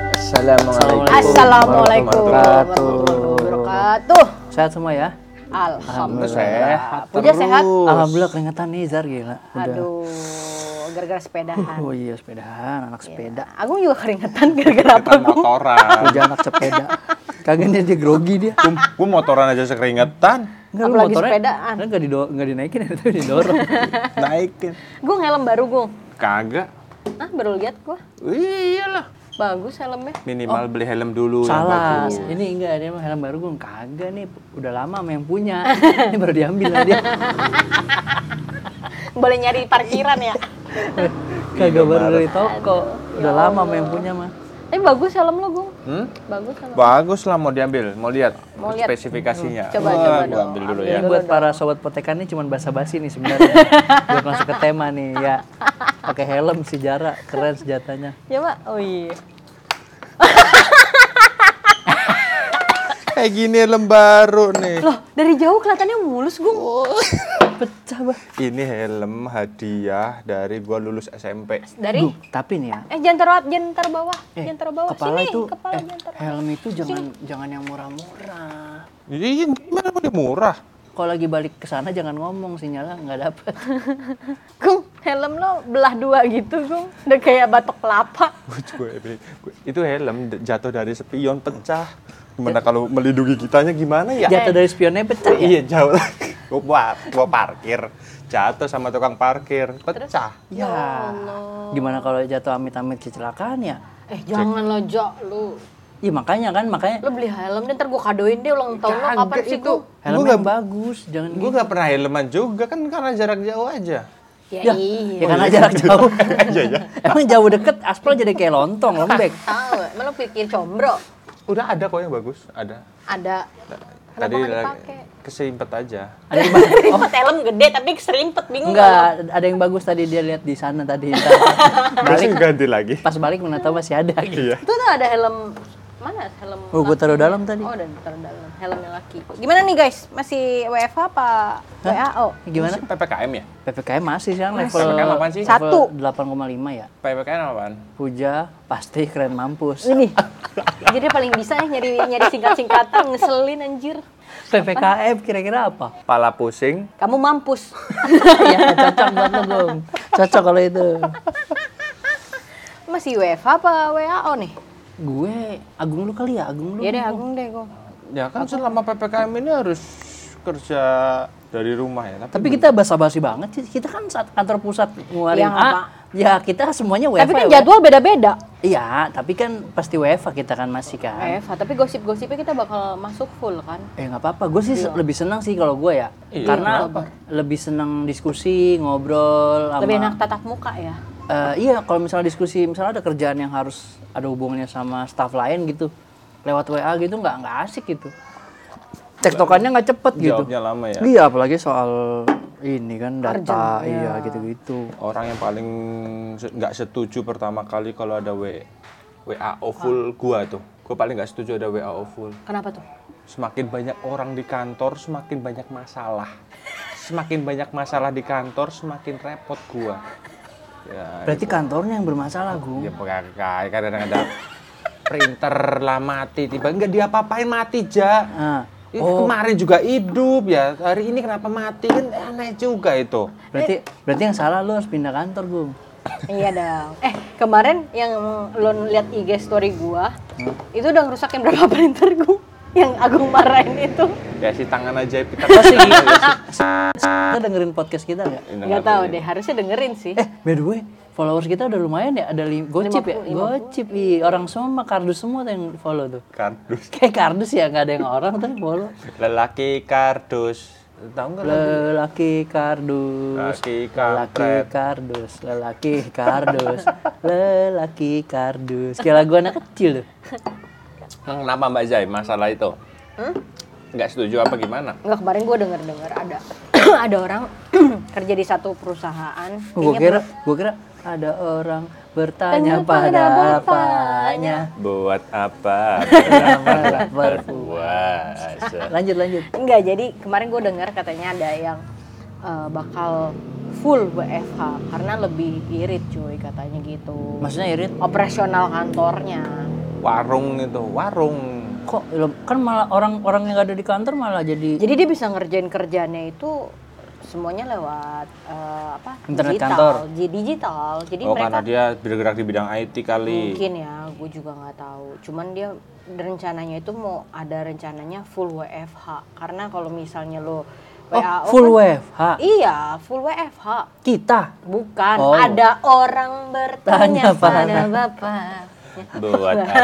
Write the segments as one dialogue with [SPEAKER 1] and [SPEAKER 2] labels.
[SPEAKER 1] Assalamualaikum.
[SPEAKER 2] Assalamualaikum warahmatullahi
[SPEAKER 1] warahmatullahi
[SPEAKER 2] wabarakatuh.
[SPEAKER 3] Sehat semua ya?
[SPEAKER 2] Alhamdulillah.
[SPEAKER 1] Sehat
[SPEAKER 2] Puja sehat.
[SPEAKER 1] terus.
[SPEAKER 3] Alhamdulillah keringetan nih Zar gila. Udah.
[SPEAKER 2] Aduh, gara-gara sepedahan.
[SPEAKER 3] Oh iya sepedahan, anak sepeda.
[SPEAKER 2] Agung juga keringetan gara-gara apa Agung?
[SPEAKER 3] Gua
[SPEAKER 1] motoran.
[SPEAKER 3] aja anak sepeda. Kagaknya dia grogi dia.
[SPEAKER 1] Gue motoran aja sekeringetan.
[SPEAKER 3] Enggak
[SPEAKER 2] Apalagi sepedaan.
[SPEAKER 3] Enggak dido enggak dinaikin ya, tapi didorong.
[SPEAKER 1] Naikin.
[SPEAKER 2] Gung helm baru Gung.
[SPEAKER 1] Kagak.
[SPEAKER 2] Ah baru lihat gua.
[SPEAKER 1] Iyalah.
[SPEAKER 2] Bagus helmnya.
[SPEAKER 1] Minimal beli helm dulu. yang
[SPEAKER 3] Oh. Salah.
[SPEAKER 1] bagus.
[SPEAKER 3] Ini enggak dia mah helm baru gue kagak nih. Udah lama sama yang punya. Ini baru diambil lah dia.
[SPEAKER 2] Boleh nyari parkiran ya.
[SPEAKER 3] Kagak baru dari toko. Udah lama sama yang punya mah.
[SPEAKER 2] Tapi Eh, bagus helm lo Gung.
[SPEAKER 1] Hmm?
[SPEAKER 2] Bagus helm.
[SPEAKER 1] Bagus lah mau diambil, mau lihat
[SPEAKER 2] Mau lihat. Hmm,
[SPEAKER 1] spesifikasinya.
[SPEAKER 2] Coba,
[SPEAKER 1] Wah,
[SPEAKER 2] coba
[SPEAKER 1] gua
[SPEAKER 2] dong.
[SPEAKER 1] ambil dulu
[SPEAKER 2] Ambil
[SPEAKER 1] ya.
[SPEAKER 3] Ini buat para sobat potekan ini cuman basa-basi nih sebenarnya. buat masuk ke tema nih ya. Pakai helm sejarah, keren senjatanya.
[SPEAKER 2] Ya Pak. Oh iya.
[SPEAKER 1] Kayak gini helm baru nih.
[SPEAKER 2] Loh, dari jauh kelihatannya mulus Gung.
[SPEAKER 3] Oh. Pecah bah.
[SPEAKER 1] Ini helm hadiah dari gua lulus SMP.
[SPEAKER 2] Dari
[SPEAKER 3] tapi nih ya.
[SPEAKER 2] Eh jangan taruh jangan taruh bawah.
[SPEAKER 3] eh,
[SPEAKER 2] jangan taruh bawah.
[SPEAKER 3] kepala
[SPEAKER 2] Sini,
[SPEAKER 3] itu
[SPEAKER 2] kepala
[SPEAKER 3] eh,
[SPEAKER 2] jangan taruh.
[SPEAKER 3] helm itu jangan jangan yang murah-murah.
[SPEAKER 1] Iya, gimana mau dia murah?
[SPEAKER 3] Kalau lagi balik ke sana jangan ngomong sinyalnya nggak dapet.
[SPEAKER 2] Gung, helm lo belah dua gitu, Gung. Udah kayak batok kelapa.
[SPEAKER 1] Gua juga beli. Gua- Itu helm d- jatuh dari spion pecah. Gimana kalau melindungi kitanya gimana ya?
[SPEAKER 3] Jatuh dari spionnya pecah ya.
[SPEAKER 1] Iya jauh lagi. Gua buat, gua parkir. Jatuh sama tukang parkir, pecah.
[SPEAKER 3] Ya. Gimana kalau jatuh amit-amit kecelakaan ya?
[SPEAKER 2] Eh, jangan lo, Jo, lu.
[SPEAKER 3] Iya makanya kan makanya
[SPEAKER 2] Lo beli helm deh, ntar gue kadoin deh ulang tahun lo kapan
[SPEAKER 1] Kagak
[SPEAKER 2] sih,
[SPEAKER 1] itu.
[SPEAKER 2] Gung?
[SPEAKER 3] helm
[SPEAKER 1] Gua
[SPEAKER 3] yang bagus jangan gitu.
[SPEAKER 1] Gue gak pernah helman juga kan karena jarak jauh aja.
[SPEAKER 2] Ya,
[SPEAKER 3] Ya,
[SPEAKER 2] iya.
[SPEAKER 3] ya karena jarak jauh.
[SPEAKER 1] Iya ya.
[SPEAKER 3] Emang jauh deket aspal jadi kayak lontong lembek.
[SPEAKER 2] Tahu, emang lo pikir combro?
[SPEAKER 1] Udah ada kok yang bagus, ada.
[SPEAKER 2] Ada. Kenapa
[SPEAKER 1] Tadi
[SPEAKER 2] nggak
[SPEAKER 1] la-
[SPEAKER 2] dipakai?
[SPEAKER 1] keserimpet aja.
[SPEAKER 3] Ada yang bagus. Oh,
[SPEAKER 2] Ribet helm gede tapi serimpet, bingung
[SPEAKER 3] enggak, ada yang bagus tadi dia lihat di sana tadi. Ntar balik
[SPEAKER 1] Masih ganti lagi.
[SPEAKER 3] pas balik mana tahu masih ada gitu.
[SPEAKER 1] Iya.
[SPEAKER 2] Itu tuh ada helm mana helm
[SPEAKER 3] Oh, gue taruh dalam tadi.
[SPEAKER 2] Oh, udah taruh dalam. Helmnya laki. Gimana nih, guys? Masih WFH apa WAO?
[SPEAKER 3] Gimana?
[SPEAKER 1] PPKM ya?
[SPEAKER 3] PPKM masih sekarang level
[SPEAKER 1] PPKM apaan sih?
[SPEAKER 3] level
[SPEAKER 2] Satu.
[SPEAKER 3] 8,5 ya.
[SPEAKER 1] PPKM apaan?
[SPEAKER 3] Puja pasti keren mampus.
[SPEAKER 2] Oh, Ini. Jadi dia paling bisa nih nyari nyari singkat-singkatan ngeselin anjir.
[SPEAKER 3] PPKM kira-kira apa?
[SPEAKER 1] Pala pusing.
[SPEAKER 2] Kamu mampus.
[SPEAKER 3] ya cocok buat lo Gung. Cocok kalau itu.
[SPEAKER 2] Masih WFH apa WAO nih?
[SPEAKER 3] Gue Agung lu kali ya, Agung lu.
[SPEAKER 2] Ya deh Agung deh gue.
[SPEAKER 1] Ya kan selama PPKM ini harus kerja dari rumah ya.
[SPEAKER 3] Tapi kita basa-basi banget sih. Kita kan saat kantor pusat ngeluarin
[SPEAKER 2] Yang
[SPEAKER 3] A,
[SPEAKER 2] apa?
[SPEAKER 3] ya kita semuanya WFH.
[SPEAKER 2] Tapi kan
[SPEAKER 3] ya,
[SPEAKER 2] jadwal beda-beda.
[SPEAKER 3] Iya, tapi kan pasti WFH kita kan masih kan.
[SPEAKER 2] WFH, tapi gosip-gosipnya kita bakal masuk full kan?
[SPEAKER 3] Eh nggak apa-apa, gue sih se- lebih senang sih kalau gue ya,
[SPEAKER 1] Iya,
[SPEAKER 3] karena
[SPEAKER 1] kenapa?
[SPEAKER 3] lebih senang diskusi, ngobrol, sama-
[SPEAKER 2] Lebih enak tatap muka ya.
[SPEAKER 3] Eh, iya, kalau misalnya diskusi, misalnya ada kerjaan yang harus ada hubungannya sama staff lain gitu, lewat WA gitu nggak nggak asik gitu. Tektokannya nggak cepet gitu.
[SPEAKER 1] Jawabnya lama ya.
[SPEAKER 3] Iya, apalagi soal ini kan data, iya gitu-gitu.
[SPEAKER 1] Orang yang paling se- nggak setuju pertama kali kalau ada W WAO full gua tuh. Gua paling nggak setuju ada WAO full.
[SPEAKER 2] Kenapa tuh?
[SPEAKER 1] Semakin banyak orang di kantor, semakin banyak masalah. Semakin banyak masalah di kantor, semakin repot gua. Ya,
[SPEAKER 3] Berarti kantornya yang bermasalah, Gung.
[SPEAKER 1] Ya pokoknya kayak kadang ada printer lah mati tiba enggak dia apain mati ja.
[SPEAKER 3] Ah,
[SPEAKER 1] Ih, Kemarin juga hidup ya, hari ini kenapa mati kan aneh juga itu.
[SPEAKER 3] berarti berarti yang salah lu harus pindah kantor, Gung.
[SPEAKER 2] iya dong. Eh kemarin yang lo lihat IG story gua,
[SPEAKER 3] Hmm?
[SPEAKER 2] itu udah ngerusakin berapa printer gua yang Agung marahin itu.
[SPEAKER 1] Ya si tangan aja kita Iya,
[SPEAKER 3] Pasti kita dengerin podcast kita nggak?
[SPEAKER 2] Gak tahu deh, harusnya dengerin sih.
[SPEAKER 3] Eh, by the way, followers kita udah lumayan ya, ada lim- gocip ya, gocip i orang semua kardus semua tuh yang follow tuh.
[SPEAKER 1] Kardus,
[SPEAKER 3] Kayak kardus ya, nggak ada yang orang tapi follow.
[SPEAKER 1] lelaki kardus. Tahu nggak?
[SPEAKER 3] Lelaki kardus,
[SPEAKER 1] Laki
[SPEAKER 3] lelaki
[SPEAKER 1] kampret.
[SPEAKER 3] kardus, lelaki kardus, lelaki kardus. Kayak lagu anak kecil tuh.
[SPEAKER 1] Kenapa Mbak Zai masalah itu?
[SPEAKER 2] Hmm?
[SPEAKER 1] Nggak setuju apa gimana?
[SPEAKER 2] Enggak kemarin gue denger dengar ada ada orang kerja di satu perusahaan.
[SPEAKER 3] Gue
[SPEAKER 2] Kayaknya
[SPEAKER 3] kira, gue kira ada orang bertanya
[SPEAKER 2] Tanya pada
[SPEAKER 3] pada
[SPEAKER 2] bapaknya.
[SPEAKER 3] apanya.
[SPEAKER 1] Buat apa? Berpuasa.
[SPEAKER 3] Lanjut lanjut.
[SPEAKER 2] Enggak, jadi kemarin gue dengar katanya ada yang eh, bakal full WFH karena lebih irit cuy katanya gitu.
[SPEAKER 3] Maksudnya irit?
[SPEAKER 2] Operasional kantornya.
[SPEAKER 1] warung itu warung
[SPEAKER 3] kok lo- kan malah orang-orang yang nggak ada di kantor malah jadi
[SPEAKER 2] Jadi dia bisa ngerjain kerjaannya itu semuanya lewat eh, apa?
[SPEAKER 3] Internet
[SPEAKER 2] digital.
[SPEAKER 3] kantor.
[SPEAKER 2] Jadi digital. Jadi
[SPEAKER 1] oh
[SPEAKER 2] mereka
[SPEAKER 1] karena dia bergerak di bidang IT kali
[SPEAKER 2] mungkin ya, gue juga nggak tahu. Cuman dia rencananya itu mau ada rencananya full WFH karena kalau misalnya lo
[SPEAKER 3] oh
[SPEAKER 2] WAO
[SPEAKER 3] full
[SPEAKER 2] kan-
[SPEAKER 3] WFH
[SPEAKER 2] Iya, full WFH.
[SPEAKER 3] kita
[SPEAKER 2] Bukan,
[SPEAKER 3] Oh.
[SPEAKER 2] ada orang bertanya
[SPEAKER 3] Tanya pada
[SPEAKER 2] pada Bapak.
[SPEAKER 1] buat apa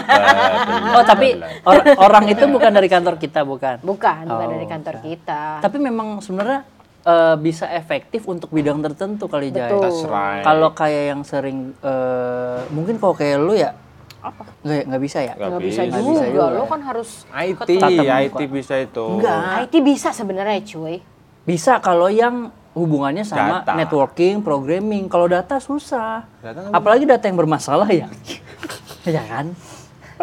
[SPEAKER 3] oh tapi or- orang itu bukan dari kantor kita bukan
[SPEAKER 2] Bukan, bukan
[SPEAKER 3] Oh,
[SPEAKER 2] dari kantor kita.
[SPEAKER 3] tapi memang sebenarnya eh, bisa efektif untuk bidang tertentu kali Jaya
[SPEAKER 2] Betul.
[SPEAKER 1] That's right.
[SPEAKER 3] Oh, kalau kayak yang sering eh, mungkin kalau kayak lu ya
[SPEAKER 2] Apa?
[SPEAKER 3] nggak nggak bisa ya
[SPEAKER 2] Nggak bisa
[SPEAKER 3] bisa
[SPEAKER 2] juga.
[SPEAKER 3] juga.
[SPEAKER 2] Lo kan harus
[SPEAKER 1] IT
[SPEAKER 3] Tatap muka.
[SPEAKER 1] IT bisa itu
[SPEAKER 3] Enggak.
[SPEAKER 2] IT bisa sebenarnya cuy. Eh,
[SPEAKER 3] bisa kalau yang hubungannya sama
[SPEAKER 1] Data.
[SPEAKER 3] networking programming kalau data susah
[SPEAKER 1] Data kan-
[SPEAKER 3] apalagi data yang bermasalah ya ya kan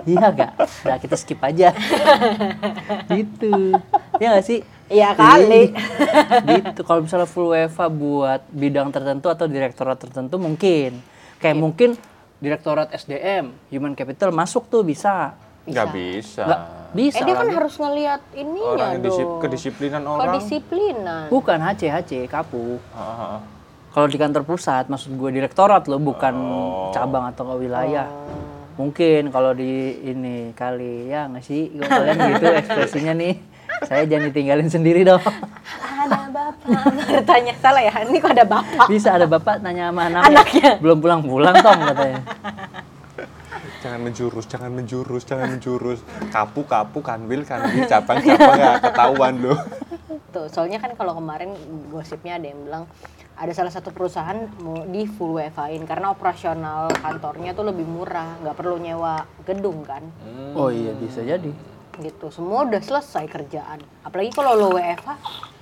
[SPEAKER 3] iya gak nah kita skip aja gitu ya gak sih
[SPEAKER 2] Iya kali.
[SPEAKER 3] gitu kalau misalnya full WFA buat bidang tertentu atau direktorat tertentu mungkin kayak
[SPEAKER 2] Iya.
[SPEAKER 3] mungkin direktorat SDM human capital masuk tuh bisa
[SPEAKER 1] nggak bisa
[SPEAKER 3] nggak bisa
[SPEAKER 2] Eh dia kan
[SPEAKER 3] lagi.
[SPEAKER 2] harus ngelihat ininya
[SPEAKER 1] orang disip-
[SPEAKER 2] Iya dong.
[SPEAKER 1] kedisiplinan orang
[SPEAKER 2] Kedisiplinan.
[SPEAKER 3] bukan HC-HC kapuk
[SPEAKER 1] Ah, ah, ah.
[SPEAKER 3] Kalau di kantor pusat, maksud gue direktorat loh, bukan cabang atau wilayah. Mungkin kalau di ini kali ya nggak sih Kalau kalian gitu ekspresinya nih. Saya jangan ditinggalin sendiri dong.
[SPEAKER 2] Ada bapak bertanya salah ya. Ini kok ada bapak?
[SPEAKER 3] Bisa ada bapak nanya sama anaknya. Belum pulang-pulang tong katanya.
[SPEAKER 1] jangan menjurus jangan menjurus jangan menjurus kapu kapu kanwil kanwil cabang cabang nggak ketahuan lo
[SPEAKER 2] Tuh, soalnya kan kalau kemarin gosipnya ada yang bilang ada salah satu perusahaan mau di full WFA-in karena operasional kantornya tuh lebih murah, nggak perlu nyewa gedung kan.
[SPEAKER 3] Oh iya bisa jadi.
[SPEAKER 2] Gitu. Semua udah selesai kerjaan. Apalagi kalau lo WFA,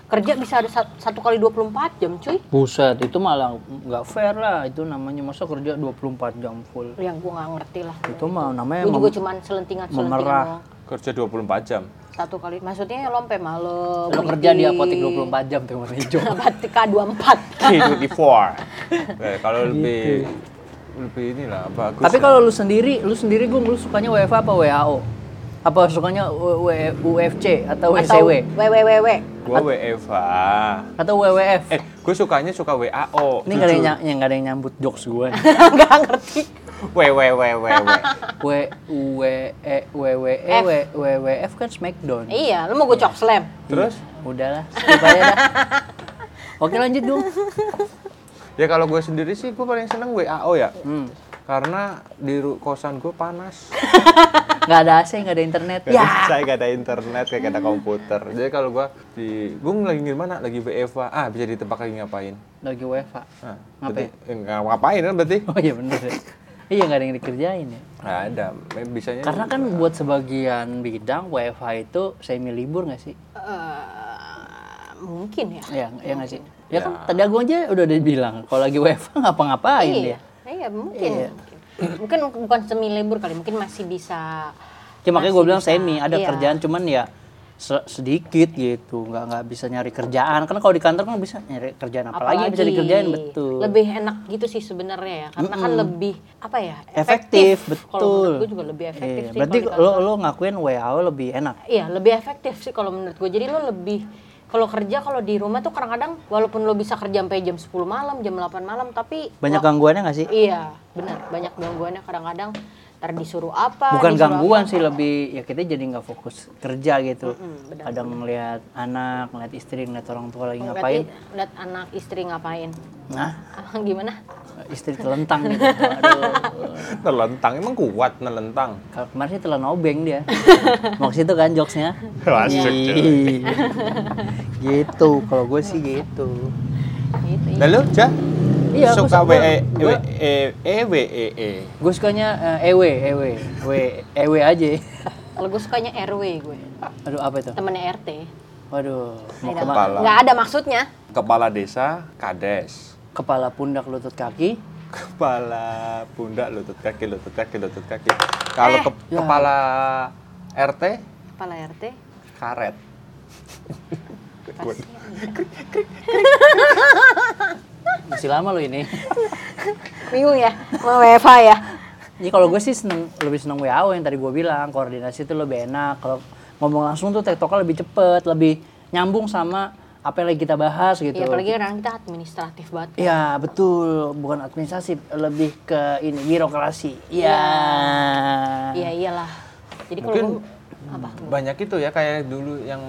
[SPEAKER 2] kerja bisa ada sat- satu kali 24 jam, cuy.
[SPEAKER 3] Buset, itu malah nggak fair lah. Itu namanya masa kerja 24 jam full.
[SPEAKER 2] Yang Ya, gua nggak ngerti lah.
[SPEAKER 3] Itu mah namanya
[SPEAKER 2] Gue juga
[SPEAKER 3] mem-
[SPEAKER 2] cuman selentingan-selentingan
[SPEAKER 3] memerah.
[SPEAKER 2] doang.
[SPEAKER 1] kerja 24 jam
[SPEAKER 2] Satu kali. Maksudnya lompe malam.
[SPEAKER 3] lo kerja di apotek
[SPEAKER 2] weekend.
[SPEAKER 3] 24 jam tuh warna hijau.
[SPEAKER 2] Apotek 24.
[SPEAKER 1] K24 Eh, kalau lebih lebih inilah bagus
[SPEAKER 3] Tapi
[SPEAKER 1] lah.
[SPEAKER 3] kalau lu sendiri, lu sendiri gue lu sukanya WFA apa WAO? Apa sukanya U- W- UFC atau
[SPEAKER 2] Atau
[SPEAKER 3] WCW
[SPEAKER 2] WWW.
[SPEAKER 1] gua WFA
[SPEAKER 3] atau WWF?
[SPEAKER 1] eh gue sukanya suka WAO
[SPEAKER 3] Ini gak ada yang,
[SPEAKER 1] jujur.
[SPEAKER 3] ny- yang nggak ada yang nyambut jokes gue.
[SPEAKER 2] Nggak ngerti.
[SPEAKER 1] WWWWW
[SPEAKER 3] Iya. W U W E WWE
[SPEAKER 2] F.
[SPEAKER 3] W WWF kan Smackdown.
[SPEAKER 2] Iya, lu mau gue cok slam.
[SPEAKER 1] terus
[SPEAKER 3] Udahlah, skip aja dah. Oke lanjut dong.
[SPEAKER 1] ya kalau gue sendiri sih gue paling seneng WAO ya
[SPEAKER 3] Hmm.
[SPEAKER 1] karena di ru- kosan gue panas
[SPEAKER 3] Gak ada AC, gak ada internet.
[SPEAKER 1] Gak bisa, gak ada internet, gak ada komputer. Hmm. Jadi kalau gua di gua lagi gimana? Lagi WFA. Ah, bisa di tempat lagi ngapain?
[SPEAKER 3] Lagi WFA.
[SPEAKER 1] Nah,
[SPEAKER 3] Ngapain?
[SPEAKER 1] berarti- eh, nggak ngapain kan berarti?
[SPEAKER 3] Oh iya bener. ya. Iya gak ada yang dikerjain ya.
[SPEAKER 1] Nggak ada. Mem- Bisanya
[SPEAKER 3] Karena kan buat sebagian bidang WFA itu semi libur gak sih?
[SPEAKER 2] Eh, mungkin ya.
[SPEAKER 3] Ya, ya nggak sih? Ya, kan tadi aku aja udah dibilang kalau lagi WFH ngapa-ngapain ya.
[SPEAKER 2] Iya, iya mungkin.
[SPEAKER 3] Iya.
[SPEAKER 2] Mungkin Mungkin bukan semi libur kali, mungkin masih bisa.
[SPEAKER 3] Ya makanya gue
[SPEAKER 2] Masih
[SPEAKER 3] bilang
[SPEAKER 2] bisa,
[SPEAKER 3] semi, ada
[SPEAKER 2] iya.
[SPEAKER 3] kerjaan cuman ya se- sedikit gitu, nggak nggak bisa nyari kerjaan. Karena kalau di kantor kan bisa nyari kerjaan apa lagi yang bisa dikerjain betul.
[SPEAKER 2] Lebih enak gitu sih sebenarnya ya, karena kan lebih apa ya?
[SPEAKER 3] efektif,
[SPEAKER 2] Kalau
[SPEAKER 3] betul.
[SPEAKER 2] menurut gue juga lebih efektif
[SPEAKER 3] Iya,
[SPEAKER 2] sih.
[SPEAKER 3] Berarti
[SPEAKER 2] kalau di
[SPEAKER 3] lo
[SPEAKER 2] kantor.
[SPEAKER 3] lo ngakuin WAO lebih enak.
[SPEAKER 2] Iya, lebih efektif sih kalau menurut gue. Jadi lo lebih kalau kerja kalau di rumah tuh kadang-kadang walaupun lo bisa kerja sampai jam 10 malam, jam 8 malam tapi
[SPEAKER 3] Banyak
[SPEAKER 2] wak-
[SPEAKER 3] gangguannya nggak sih?
[SPEAKER 2] Iya, benar. Banyak gangguannya kadang-kadang ntar disuruh apa
[SPEAKER 3] Bukan
[SPEAKER 2] disuruh
[SPEAKER 3] gangguan
[SPEAKER 2] apa.
[SPEAKER 3] sih lebih ya kita jadi nggak fokus kerja gitu. Kadang ngeliat anak, ngeliat istri, ngeliat orang tua
[SPEAKER 2] Oh,
[SPEAKER 3] lagi ngapain.
[SPEAKER 2] Berarti lihat anak istri ngapain?
[SPEAKER 3] Nah,
[SPEAKER 2] Gimana?
[SPEAKER 3] istri telentang gitu. Aduh.
[SPEAKER 1] nelentang. Emang kuat nelentang.
[SPEAKER 3] Kalau kemarin sih telan obeng dia. Mau ke situ kan jokesnya. Iya.
[SPEAKER 1] Masuk,
[SPEAKER 3] Ih. gitu, kalau gue sih gitu.
[SPEAKER 2] Gitu.
[SPEAKER 1] Nah, lu, Ja?
[SPEAKER 3] Iya, aku
[SPEAKER 1] suka
[SPEAKER 3] suka.
[SPEAKER 1] WE
[SPEAKER 3] Gua-
[SPEAKER 1] WE E W E E.
[SPEAKER 3] Gue sukanya eh, EW, EW, EW, EW aja.
[SPEAKER 2] Kalau gue sukanya RW gue,
[SPEAKER 3] Aduh, apa itu?
[SPEAKER 2] temennya RT.
[SPEAKER 3] Waduh, mau
[SPEAKER 2] Ada.
[SPEAKER 3] kemana?
[SPEAKER 1] Kepala.
[SPEAKER 2] Nggak ada maksudnya.
[SPEAKER 1] Kepala desa, kades.
[SPEAKER 3] Kepala, pundak, lutut, kaki.
[SPEAKER 1] Kepala pundak, lutut kaki, lutut kaki, lutut kaki.
[SPEAKER 3] Eh,
[SPEAKER 1] Kalau ke-
[SPEAKER 3] ya.
[SPEAKER 1] kepala RT,
[SPEAKER 2] Kepala RT.
[SPEAKER 1] karet.
[SPEAKER 2] pasti-
[SPEAKER 3] Masih lama lo ini.
[SPEAKER 2] Bingung ya, mau WFH ya.
[SPEAKER 3] Jadi kalau gue sih seneng, lebih seneng WAO yang tadi gue bilang, koordinasi itu lebih enak. Kalau ngomong langsung tuh tektokan lebih cepet, lebih nyambung sama apa yang lagi kita bahas gitu.
[SPEAKER 2] Iya, apalagi orang kita administratif banget.
[SPEAKER 3] Iya, betul, bukan administrasi, lebih ke ini birokrasi. Iya.
[SPEAKER 2] Iya iyalah. Jadi kalau
[SPEAKER 1] Mungkin
[SPEAKER 2] gua- apa?
[SPEAKER 1] banyak itu ya kayak dulu yang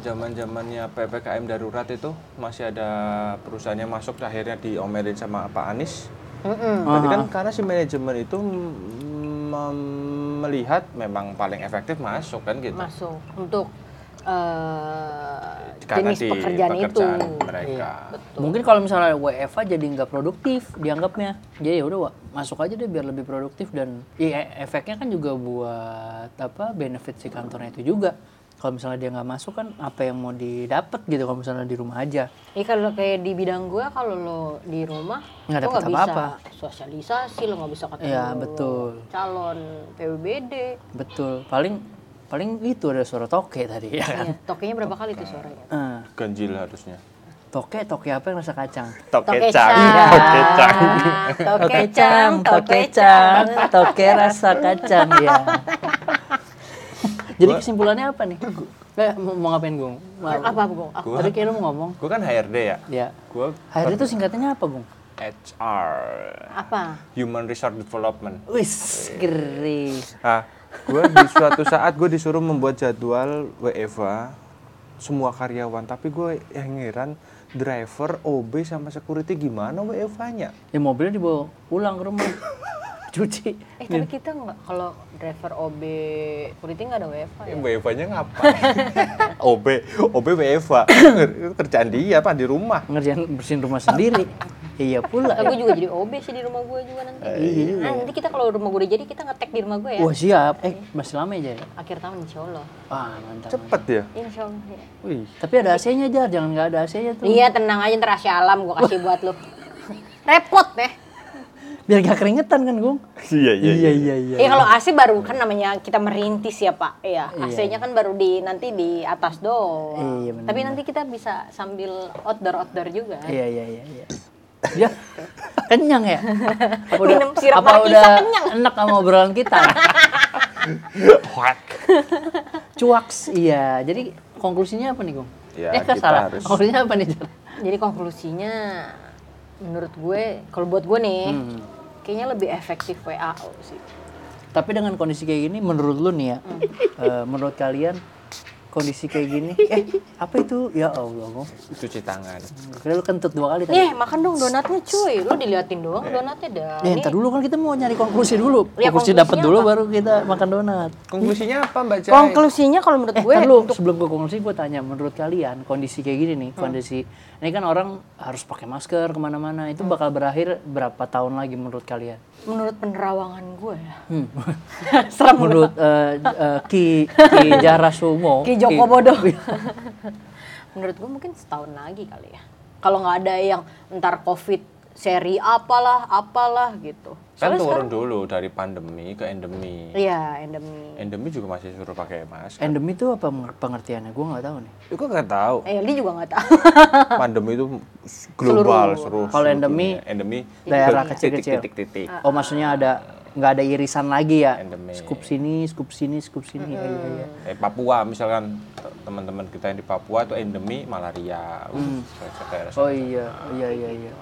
[SPEAKER 1] zaman zamannya ppkm darurat itu masih ada perusahaannya masuk akhirnya diomelin sama Pak Anies.
[SPEAKER 2] Mm-mm.
[SPEAKER 1] Tapi kan karena si manajemen itu mm, mem- melihat memang paling efektif masuk kan gitu.
[SPEAKER 2] masuk untuk eh,
[SPEAKER 1] Karena
[SPEAKER 2] jenis
[SPEAKER 1] di
[SPEAKER 2] pekerjaan, itu. Iya,
[SPEAKER 1] mereka.
[SPEAKER 3] Mungkin kalau misalnya WFA jadi nggak produktif dianggapnya. Jadi ya udah Wak, masuk aja deh biar lebih produktif dan ya, efeknya kan juga buat apa benefit si kantornya itu juga. Kalau misalnya dia nggak masuk kan apa yang mau didapat gitu kalau misalnya di rumah aja.
[SPEAKER 2] Iya kalau kayak di bidang gue kalau lo di rumah
[SPEAKER 3] Nggak
[SPEAKER 2] lo
[SPEAKER 3] dapet apa-apa.
[SPEAKER 2] bisa sosialisasi lo nggak bisa ketemu
[SPEAKER 3] Iya, betul.
[SPEAKER 2] calon PBBD.
[SPEAKER 3] Betul. Paling paling itu ada suara toke tadi ya kan.
[SPEAKER 2] Iya, tokenya berapa kali tuh suaranya?
[SPEAKER 3] Eh,
[SPEAKER 1] Ganjil harusnya.
[SPEAKER 3] toke toke apa yang rasa kacang?
[SPEAKER 1] Tokecang, Iya,
[SPEAKER 2] Tokecang,
[SPEAKER 1] tokecang.
[SPEAKER 2] tokecang,
[SPEAKER 3] tokecang,
[SPEAKER 2] tokecang.
[SPEAKER 3] toke rasa kacang ya. Jadi kesimpulannya apa nih? Eh, mau mau ngapain gue?
[SPEAKER 2] Apa Bung? Aku
[SPEAKER 3] Tadi kayak lu mau ngomong.
[SPEAKER 1] Gue kan HRD ya.
[SPEAKER 3] Ya.
[SPEAKER 1] Gue
[SPEAKER 3] HRD itu singkatannya apa, Bung?
[SPEAKER 1] HR,
[SPEAKER 2] apa?
[SPEAKER 1] Human Resource Development.
[SPEAKER 3] Wis, keren.
[SPEAKER 1] Ah, gue di suatu saat gue disuruh membuat jadwal WFA semua karyawan, tapi gue yang heran driver, OB sama security gimana WFA-nya?
[SPEAKER 3] Ya mobilnya dibawa pulang ke rumah. Cuci.
[SPEAKER 2] Eh tapi kita nggak kalau driver OB security nggak ada WFH
[SPEAKER 3] Iya.
[SPEAKER 2] ya?
[SPEAKER 1] WFA-nya Eh, ngapain? OB, OB WFA. Kerjaan dia apa di rumah?
[SPEAKER 3] Ngerjain bersihin rumah sendiri. iya pula.
[SPEAKER 2] Nah, gue juga jadi OB sih di rumah gue juga nanti.
[SPEAKER 3] iya juga
[SPEAKER 2] Nah, nanti kita kalau rumah gue udah jadi kita ngetek di rumah gue ya.
[SPEAKER 3] Wah, siap. Eh, masih lama aja ya?
[SPEAKER 2] Akhir tahun insya Allah.
[SPEAKER 3] Wah, mantap. mantap.
[SPEAKER 1] Cepet ya.
[SPEAKER 3] Iya,
[SPEAKER 2] Insya Allah. ya.
[SPEAKER 1] Wih,
[SPEAKER 3] Tapi ada AC-nya aja, jangan nggak ada AC-nya tuh.
[SPEAKER 2] Iya tenang aja ntar Asia alam gue kasih buat lu. Repot deh.
[SPEAKER 3] Biar nggak keringetan kan, Gung?
[SPEAKER 1] Iya,
[SPEAKER 3] iya, iya.
[SPEAKER 2] Iya kalau AC baru kan namanya kita merintis ya Pak. Iya,
[SPEAKER 3] Iya.
[SPEAKER 2] AC-nya kan baru di nanti di atas doang.
[SPEAKER 3] Iya, benar.
[SPEAKER 2] Tapi nanti kita bisa sambil outdoor outdoor juga.
[SPEAKER 3] Iya, iya, iya, iya. Ya, kenyang ya? Apa udah,
[SPEAKER 2] Minum sirup
[SPEAKER 3] apa
[SPEAKER 2] markisa,
[SPEAKER 3] udah
[SPEAKER 2] kenyang.
[SPEAKER 3] enak sama obrolan kita? Cuaks, iya. Jadi konklusinya apa nih, Gung?
[SPEAKER 1] Ya,
[SPEAKER 3] eh, kan
[SPEAKER 1] kita
[SPEAKER 3] salah.
[SPEAKER 1] harus-
[SPEAKER 3] Konklusinya apa nih, Jar?
[SPEAKER 2] Jadi konklusinya menurut gue kalau buat gue nih
[SPEAKER 3] Hmm.
[SPEAKER 2] kayaknya lebih efektif WAO sih.
[SPEAKER 3] Tapi dengan kondisi kayak gini, menurut lu nih ya,
[SPEAKER 2] Hmm.
[SPEAKER 3] eh, menurut kalian kondisi kayak gini, eh apa itu? Ya Allah, Gung.
[SPEAKER 1] Cuci tangan.
[SPEAKER 3] Kira lu kentut dua kali kan? tadi.
[SPEAKER 2] Nih makan dong donatnya cuy, lu diliatin doang donatnya dah.
[SPEAKER 3] Ya, ntar dulu kan kita mau nyari konklusi dulu.
[SPEAKER 2] Ya,
[SPEAKER 3] konklusi
[SPEAKER 2] konklusinya
[SPEAKER 3] dapat dulu
[SPEAKER 2] apa?
[SPEAKER 3] baru kita makan donat.
[SPEAKER 1] Konklusinya apa Mbak Jai?
[SPEAKER 2] Konklusinya kalau menurut
[SPEAKER 3] Eh,
[SPEAKER 2] gue
[SPEAKER 3] ntar lu, sebelum gue konklusi, gue tanya, menurut kalian kondisi kayak gini
[SPEAKER 2] Hmm.
[SPEAKER 3] nih, kondisi ini kan orang harus pakai masker kemana-mana,
[SPEAKER 2] Hmm.
[SPEAKER 3] itu bakal berakhir berapa tahun lagi menurut kalian?
[SPEAKER 2] menurut penerawangan gue ya.
[SPEAKER 3] Hmm.
[SPEAKER 2] Serem
[SPEAKER 3] menurut eh, eh, Ki Ki Jarasumo,
[SPEAKER 2] Ki Joko Bodoh.
[SPEAKER 3] Iya.
[SPEAKER 2] menurut gue mungkin setahun lagi kali ya. Kalau nggak ada yang ntar covid seri apalah apalah gitu.
[SPEAKER 1] Kan
[SPEAKER 2] Soalnya
[SPEAKER 1] turun dulu dari pandemi ke endemi.
[SPEAKER 2] Iya endemi.
[SPEAKER 1] Endemi juga masih suruh pakai masker.
[SPEAKER 3] Endemi itu apa meng- pengertiannya? Gue nggak tahu nih.
[SPEAKER 1] Gue nggak tahu.
[SPEAKER 2] Eh Li juga nggak tahu.
[SPEAKER 1] pandemi itu global seluruh
[SPEAKER 3] Kalau
[SPEAKER 1] seluruh
[SPEAKER 3] endemi,
[SPEAKER 1] dunia. endemi
[SPEAKER 3] daerah
[SPEAKER 1] titik,
[SPEAKER 3] kecil-kecil.
[SPEAKER 1] titik titik, titik.
[SPEAKER 2] Ah.
[SPEAKER 3] Oh maksudnya ada nggak ada irisan lagi ya?
[SPEAKER 1] Endemi.
[SPEAKER 3] Skup sini, skup sini, skup
[SPEAKER 2] Hmm.
[SPEAKER 3] sini. ya, ya, ya.
[SPEAKER 1] Eh, Papua misalkan te- teman-teman kita yang di Papua itu endemi malaria Udah, daerah sana.
[SPEAKER 3] Oh iya, iya iya iya.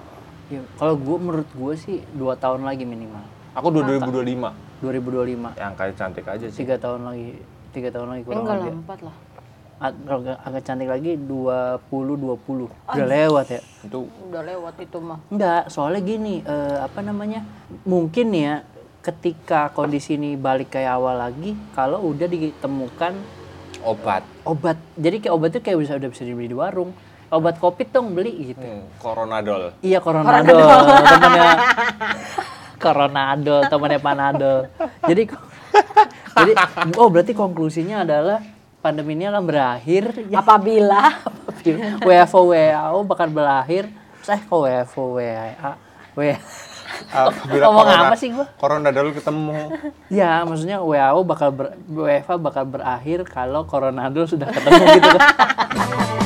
[SPEAKER 3] Ya, kalau gue menurut gue sih dua tahun lagi minimal.
[SPEAKER 1] aku dua 2025
[SPEAKER 3] 2025,
[SPEAKER 1] yang kayak cantik aja sih
[SPEAKER 3] tiga tahun lagi, tiga tahun lagi kurang
[SPEAKER 2] Enggak lah
[SPEAKER 3] lebih.
[SPEAKER 2] empat lah.
[SPEAKER 3] At- agak, agak cantik lagi 20 20. Udah lewat ya.
[SPEAKER 1] itu
[SPEAKER 2] Udah lewat itu mah.
[SPEAKER 3] Enggak, soalnya gini, eh, apa namanya? Mungkin nih ya, ketika kondisi ini balik kayak awal lagi, kalau udah ditemukan
[SPEAKER 1] obat
[SPEAKER 3] obat, jadi kayak obat itu kayak bisa udah bisa dibeli di warung. Obat covid dong beli gitu.
[SPEAKER 1] Hmm, coronadol
[SPEAKER 3] Iya coronadol, temannya coronadol, temannya panadol. Jadi, jadi, oh berarti konklusinya adalah pandemi ini akan berakhir ya
[SPEAKER 2] Iya. Apabila
[SPEAKER 3] WFO WAO bakal berakhir saya kok WFO WA
[SPEAKER 1] Apabila
[SPEAKER 3] Ngomong apa sih gua?
[SPEAKER 1] coronadol ketemu
[SPEAKER 3] ya maksudnya WAO bakal ber, WFA bakal berakhir kalau Coronado sudah ketemu gitu kan